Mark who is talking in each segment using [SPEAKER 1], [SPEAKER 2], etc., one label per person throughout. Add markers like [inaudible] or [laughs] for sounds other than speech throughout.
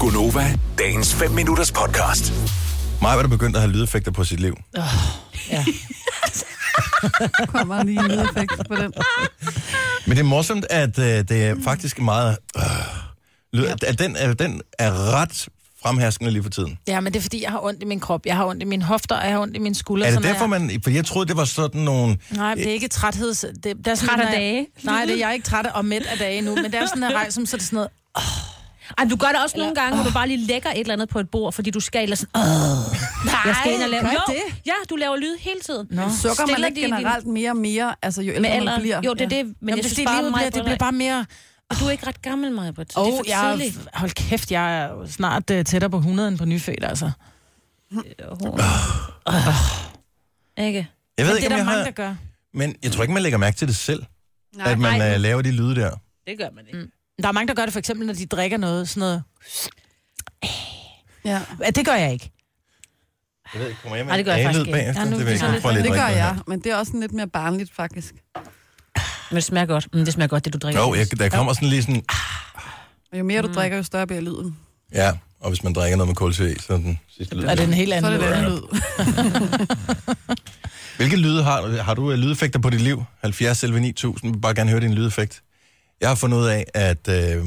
[SPEAKER 1] Gunova, dagens 5 minutters podcast.
[SPEAKER 2] Maja var begyndt at have lydeffekter på sit liv.
[SPEAKER 3] Ja.
[SPEAKER 4] kommer lige en lydeffekt på den.
[SPEAKER 2] Men det er morsomt, at øh, det er faktisk meget... Øh, lyd, at, at den, at den er ret fremherskende lige for tiden.
[SPEAKER 3] ja, men det er fordi, jeg har ondt i min krop. Jeg har ondt i mine hofter, og jeg har ondt i mine skuldre.
[SPEAKER 2] Er det
[SPEAKER 3] sådan
[SPEAKER 2] derfor,
[SPEAKER 3] jeg...
[SPEAKER 2] man... Øh. For jeg troede, det var sådan nogle...
[SPEAKER 3] Nej, men det er ikke trætheds... Det, det er sådan,
[SPEAKER 5] Træt af
[SPEAKER 3] når jeg-
[SPEAKER 5] dage?
[SPEAKER 3] Nej, det er jeg er ikke træt af- og mæt af dage nu, men det er sådan, at jeg rejser, mig, så er det sådan noget...
[SPEAKER 5] Ej, men du gør det også nogle gange, hvor du bare lige lægger et eller andet på et bord, fordi du skal eller sådan, Åh,
[SPEAKER 3] Nej,
[SPEAKER 5] jeg skal ind og lave...
[SPEAKER 4] gør
[SPEAKER 5] Jo,
[SPEAKER 4] det?
[SPEAKER 5] ja, du laver lyd hele tiden. Nå.
[SPEAKER 4] Sukker man
[SPEAKER 5] Stiller
[SPEAKER 4] ikke
[SPEAKER 5] de din-
[SPEAKER 4] generelt mere og mere, altså jo ældre man bliver?
[SPEAKER 5] Jo, det er det, men
[SPEAKER 3] Men
[SPEAKER 5] jeg
[SPEAKER 3] jeg
[SPEAKER 5] synes
[SPEAKER 3] fordi
[SPEAKER 5] bare,
[SPEAKER 3] livet
[SPEAKER 5] mig,
[SPEAKER 3] bliver, det bliver bare mere...
[SPEAKER 5] Du er ikke ret gammel, mig, Britt.
[SPEAKER 3] Åh,
[SPEAKER 5] det er
[SPEAKER 3] oh,
[SPEAKER 5] for
[SPEAKER 3] jeg...
[SPEAKER 5] tidligt.
[SPEAKER 3] er- Hold kæft, jeg er jo snart uh, tættere på 100 end på nyfødt, altså.
[SPEAKER 5] øh, Ikke?
[SPEAKER 2] Jeg ved ikke, om
[SPEAKER 3] Men det er der
[SPEAKER 2] jeg
[SPEAKER 3] mange,
[SPEAKER 2] har...
[SPEAKER 3] der gør.
[SPEAKER 2] Men jeg tror ikke, man lægger mærke til det selv, Nej,
[SPEAKER 4] Nej.
[SPEAKER 2] at man
[SPEAKER 5] Ej.
[SPEAKER 2] øh, laver de lyde der.
[SPEAKER 5] Det gør man ikke. Mm.
[SPEAKER 3] Der er mange, der gør det for eksempel, når de drikker noget, sådan noget.
[SPEAKER 4] Ja.
[SPEAKER 3] Ja, det gør jeg ikke.
[SPEAKER 2] Jeg ved ikke, kommer jeg med
[SPEAKER 5] Nej, det gør jeg
[SPEAKER 2] en
[SPEAKER 5] faktisk
[SPEAKER 2] A-lyd
[SPEAKER 5] ikke.
[SPEAKER 2] bagefter?
[SPEAKER 3] Ja, nu-
[SPEAKER 2] det ved jeg
[SPEAKER 3] Nej,
[SPEAKER 2] ikke. Prøv lige at
[SPEAKER 4] Det
[SPEAKER 2] drikke
[SPEAKER 4] gør
[SPEAKER 2] noget her.
[SPEAKER 4] jeg, men det er også sådan lidt mere barnligt faktisk.
[SPEAKER 5] Men det smager godt. Mm, det smager godt, det du drikker.
[SPEAKER 2] Jo, jeg, der kommer sådan lige sådan...
[SPEAKER 3] Ah.
[SPEAKER 4] Og jo mere
[SPEAKER 5] Mm.
[SPEAKER 4] du drikker, jo større bliver lyden.
[SPEAKER 2] Ja, og hvis man drikker noget med kulsyre, i, så er den sidste lyd.
[SPEAKER 3] Er det en helt
[SPEAKER 4] Så er
[SPEAKER 3] anden
[SPEAKER 4] det
[SPEAKER 3] lyd?
[SPEAKER 4] den anden lyd.
[SPEAKER 2] Hvilke lyde har du? Har du øh, lydeffekter på dit liv? 70 selv 9000. Vi bare gerne høre din lydeffekt. Jeg har fundet ud af, at øh,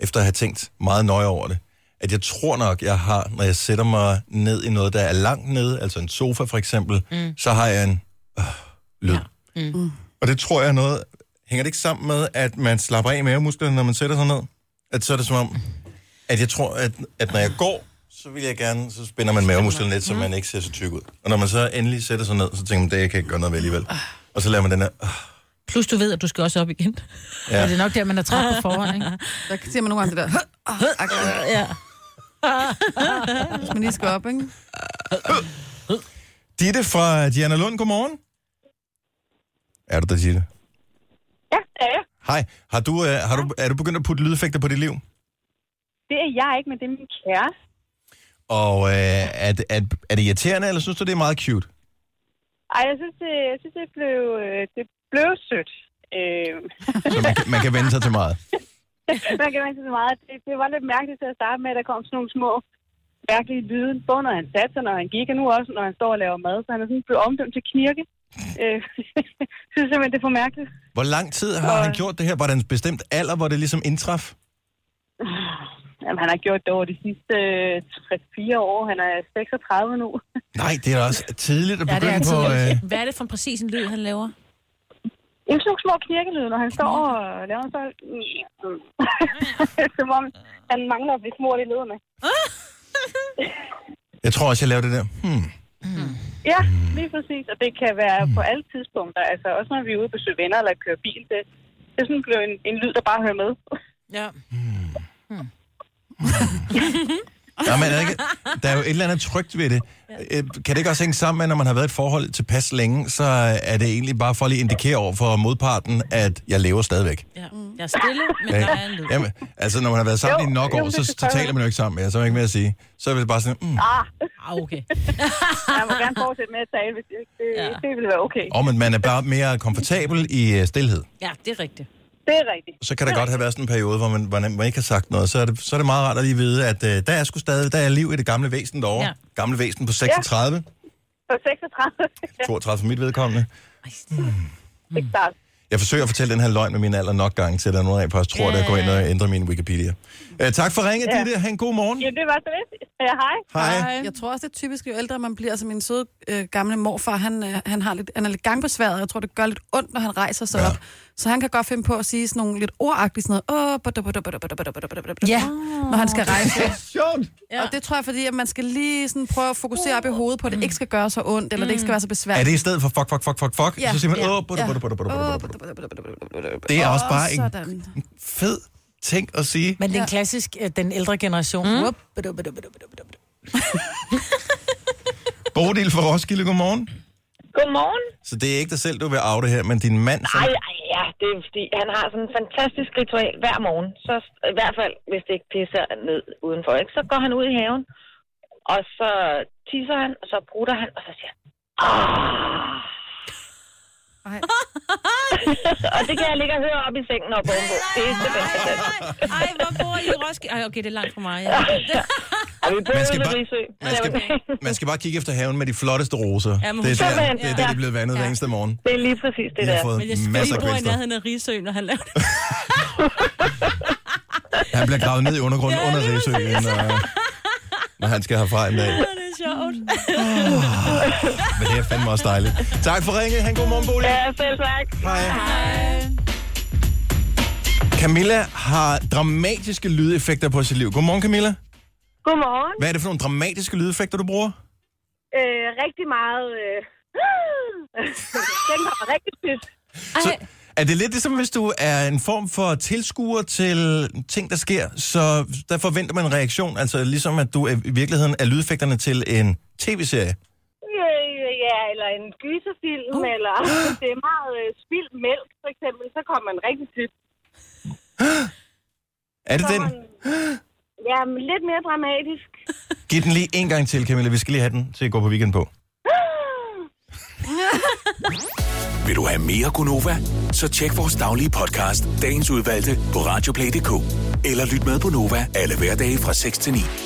[SPEAKER 2] efter at have tænkt meget nøje over det, at jeg tror nok, jeg har, når jeg sætter mig ned i noget, der er langt nede, altså en sofa for eksempel, mm. så har jeg en øh, lyd. Ja.
[SPEAKER 3] Mm.
[SPEAKER 2] Mm. Og det tror jeg er noget... Hænger det ikke sammen med, at man slapper af mavemusklerne, når man sætter sig ned? At så er det som om, at jeg tror, at, at når jeg går, så vil jeg gerne, så spænder man mavemusklen lidt, så
[SPEAKER 5] Mm.
[SPEAKER 2] man ikke ser så tyk ud. Og når man så endelig sætter sig ned, så tænker man, det kan jeg ikke gøre noget ved alligevel.
[SPEAKER 5] Ah.
[SPEAKER 2] Og så laver man den her, "Ah."
[SPEAKER 5] Plus du ved, at du skal også op igen.
[SPEAKER 3] Ja. Er det nok der, man er træt på forhånd, ikke?
[SPEAKER 4] Der siger man nogle gange det der. "Agtigt",
[SPEAKER 5] Ja.
[SPEAKER 4] Hvis man lige skal op, ikke?
[SPEAKER 2] Ditte fra Diana Lund, godmorgen. Er du der, Ditte?
[SPEAKER 6] Ja, det er jeg.
[SPEAKER 2] Hej, har du, øh, har du, er du begyndt at putte lydeffekter på dit liv?
[SPEAKER 6] Det er jeg ikke, men det er min kæreste.
[SPEAKER 2] Og øh, er, det, er, er det irriterende, eller synes du, det er meget cute?
[SPEAKER 6] Ej, jeg synes, det, jeg synes, det blev, øh, det blev sødt. Øh, [laughs]
[SPEAKER 2] Så man kan, man kan vende sig til meget.
[SPEAKER 6] man kan ikke sige så meget. Det, det, var lidt mærkeligt til at starte med, at der kom sådan nogle små mærkelige lyde. Både når han satte sig, når han gik, og nu også, når han står og laver mad. Så han er sådan blevet omdømt til knirke. Øh, [laughs] jeg synes simpelthen, det er for mærkeligt.
[SPEAKER 2] Hvor lang tid har han gjort det her? Var der en bestemt alder, hvor det ligesom indtraf?
[SPEAKER 6] Jamen, han har gjort det over de sidste øh, 3-4 år. Han er 36 nu. [laughs]
[SPEAKER 2] Nej, det er da også tidligt at
[SPEAKER 5] Ja, det
[SPEAKER 2] begynde
[SPEAKER 5] er
[SPEAKER 2] på...
[SPEAKER 5] tidligt.
[SPEAKER 2] Øh,
[SPEAKER 5] Hvad er det for en præcis en lyd, han laver?
[SPEAKER 6] Jamen, sådan nogle små knirkelyde, når han står og laver en [laughs] sådan... Som om han mangler at blive smurt i lederne.
[SPEAKER 2] jeg tror også, jeg laver det der. Hmm.
[SPEAKER 6] Ja, lige præcis. Og det kan være på alle tidspunkter. Altså også når vi er ude på besøge venner eller kører bil. Det, det er sådan blevet en, en lyd, der bare hører med.
[SPEAKER 3] Ja.
[SPEAKER 2] Nej, men er der, ikke, der er jo et eller andet trygt ved det. Øh, Kan det ikke også hænge sammen med, at når man har været i et forhold til pas længe, så er det egentlig bare for at lige indikere over for modparten, at jeg lever stadigvæk.
[SPEAKER 5] Ja. Jeg er stille, men
[SPEAKER 2] Ja,
[SPEAKER 5] der er en lyd.
[SPEAKER 2] Jamen, altså, når man har været sammen
[SPEAKER 6] Jo,
[SPEAKER 2] i nok år,
[SPEAKER 6] jamen,
[SPEAKER 2] så,
[SPEAKER 6] det
[SPEAKER 2] så
[SPEAKER 6] forstår jeg.
[SPEAKER 2] taler man jo ikke sammen mere, så er man ikke mere at sige. Så er det bare sådan, mm.
[SPEAKER 6] Ah,
[SPEAKER 5] Ah, okay.
[SPEAKER 6] jeg må gerne fortsætte med at tale, hvis det, det,
[SPEAKER 5] Ja.
[SPEAKER 6] ja. det ville være okay.
[SPEAKER 2] og man er bare mere komfortabel i øh, stilhed.
[SPEAKER 5] Ja, det er rigtigt.
[SPEAKER 6] Det er rigtigt.
[SPEAKER 2] Så kan der godt have været sådan en periode, hvor man, hvor man ikke har sagt noget. Så er, det, så er det meget rart at lige vide, at øh, der er sgu stadig der er liv i det gamle væsen derovre.
[SPEAKER 5] Ja.
[SPEAKER 2] Gamle væsen på 36,
[SPEAKER 6] På [laughs] 36.
[SPEAKER 2] 32 for mit vedkommende.
[SPEAKER 6] det er klart.
[SPEAKER 2] Jeg forsøger at fortælle den her løgn med min alder nok gange, til at der er nogen af os tror, at jeg går ind og ændrer min Wikipedia. Øh, tak for ringet, ja.
[SPEAKER 6] Ja.
[SPEAKER 2] Ditte. Ha' en god morgen.
[SPEAKER 6] Jamen, det var så lidt. Ja, hej.
[SPEAKER 2] Hej.
[SPEAKER 4] Jeg tror også, det er typisk, jo ældre man bliver. Altså min søde øh, gamle morfar, han, øh, han, har lidt, han er lidt gangbesværet, og jeg tror, det gør lidt ondt, når han rejser sig
[SPEAKER 2] Ja.
[SPEAKER 4] ja. op. Så han kan godt finde på at sige sådan nogle lidt ordagtige sådan noget. Åh, bada, bada, bada, bada, bada, bada, bada, bada,
[SPEAKER 3] Ja.
[SPEAKER 4] Når han skal rejse.
[SPEAKER 2] Sjovt.
[SPEAKER 4] ja. Og det tror jeg, fordi at man skal lige sådan prøve at fokusere op i hovedet på, at det ikke skal gøre så ondt, eller det ikke skal være så
[SPEAKER 2] Er
[SPEAKER 4] besværligt.
[SPEAKER 2] det i stedet for fuck, fuck, fuck, fuck, fuck? Ja.
[SPEAKER 4] Ja.
[SPEAKER 2] Så siger man,
[SPEAKER 4] Ja.
[SPEAKER 2] åh, butter,
[SPEAKER 4] Ja.
[SPEAKER 2] butter, butter, butter, butter, butter.
[SPEAKER 4] Åh,
[SPEAKER 2] Det er også bare en
[SPEAKER 4] sådan.
[SPEAKER 2] fed ting at sige.
[SPEAKER 3] Men den klassisk, øh, den ældre generation. Mm.
[SPEAKER 2] Bodil fra Roskilde, godmorgen.
[SPEAKER 6] Godmorgen.
[SPEAKER 2] Så det er ikke dig selv, du vil oute her, men din mand, som,
[SPEAKER 7] Ej, ej, ja, det er fordi, han har sådan en fantastisk ritual hver morgen. Så i hvert fald, hvis det ikke pisser ned udenfor, ikke? så går han ud i haven, og så tisser han, og så brutter han, og så siger han, "Ah."
[SPEAKER 4] Nej.
[SPEAKER 7] [laughs] og det kan jeg ligge og høre op i sengen og ovenpå. Det er det bedste.
[SPEAKER 5] Ej, hvor bor I i Roskilde? Ej, okay, det er langt fra mig. Ja.
[SPEAKER 7] Og vi bor
[SPEAKER 2] Man skal
[SPEAKER 7] ude
[SPEAKER 2] bare-
[SPEAKER 7] ved Risø.
[SPEAKER 2] Man skal, man skal bare kigge efter haven med de flotteste roser.
[SPEAKER 5] Jamen,
[SPEAKER 2] det, er
[SPEAKER 5] hun-
[SPEAKER 2] der,
[SPEAKER 7] Sådan,
[SPEAKER 2] det er der,
[SPEAKER 7] ja.
[SPEAKER 2] de er blevet vandet ja. hver eneste morgen.
[SPEAKER 7] Det er lige præcis
[SPEAKER 2] Jeg
[SPEAKER 7] det der.
[SPEAKER 2] har fået
[SPEAKER 5] [laughs] Men jeg
[SPEAKER 2] masser af
[SPEAKER 5] skulle bo i
[SPEAKER 2] kvælstof.
[SPEAKER 5] nærheden af Rigsø, når han lavede det. [laughs]
[SPEAKER 2] Han bliver gravet ned i undergrunden
[SPEAKER 5] Ja,
[SPEAKER 2] under
[SPEAKER 5] lige
[SPEAKER 2] Risø, når, når han skal herfra en dag.
[SPEAKER 5] Det er sjovt.
[SPEAKER 2] Men det er fandme også dejligt. Tak for ringet. Han god morgen, Bodil.
[SPEAKER 7] Ja, selv tak.
[SPEAKER 2] Hej. Camilla har dramatiske lydeffekter på sit liv. Godmorgen, Camilla.
[SPEAKER 6] Godmorgen.
[SPEAKER 2] Hvad er det for nogle dramatiske lydeffekter, du bruger?
[SPEAKER 6] Øh, rigtig meget... Øh... [laughs] Den var rigtig tyst.
[SPEAKER 2] Så, er det lidt ligesom, hvis du er en form for tilskuer til ting, der sker, så der forventer man en reaktion, altså ligesom at du er, i virkeligheden er lydeffekterne til en tv-serie.
[SPEAKER 6] Øh, ja, eller en gyserfilm, uh. eller hvis det er meget øh, spild mælk, for eksempel, så kommer man rigtig tyst.
[SPEAKER 2] Er det den?
[SPEAKER 6] Ja, men lidt mere dramatisk.
[SPEAKER 2] Giv den lige en gang til, Camilla. Vi skal lige have den til at gå på weekend på.
[SPEAKER 1] Vil du have mere Gunova? Så tjek vores daglige podcast, dagens udvalgte, på radioplay.dk. Eller lyt med på Nova alle hverdage fra 6 til 9.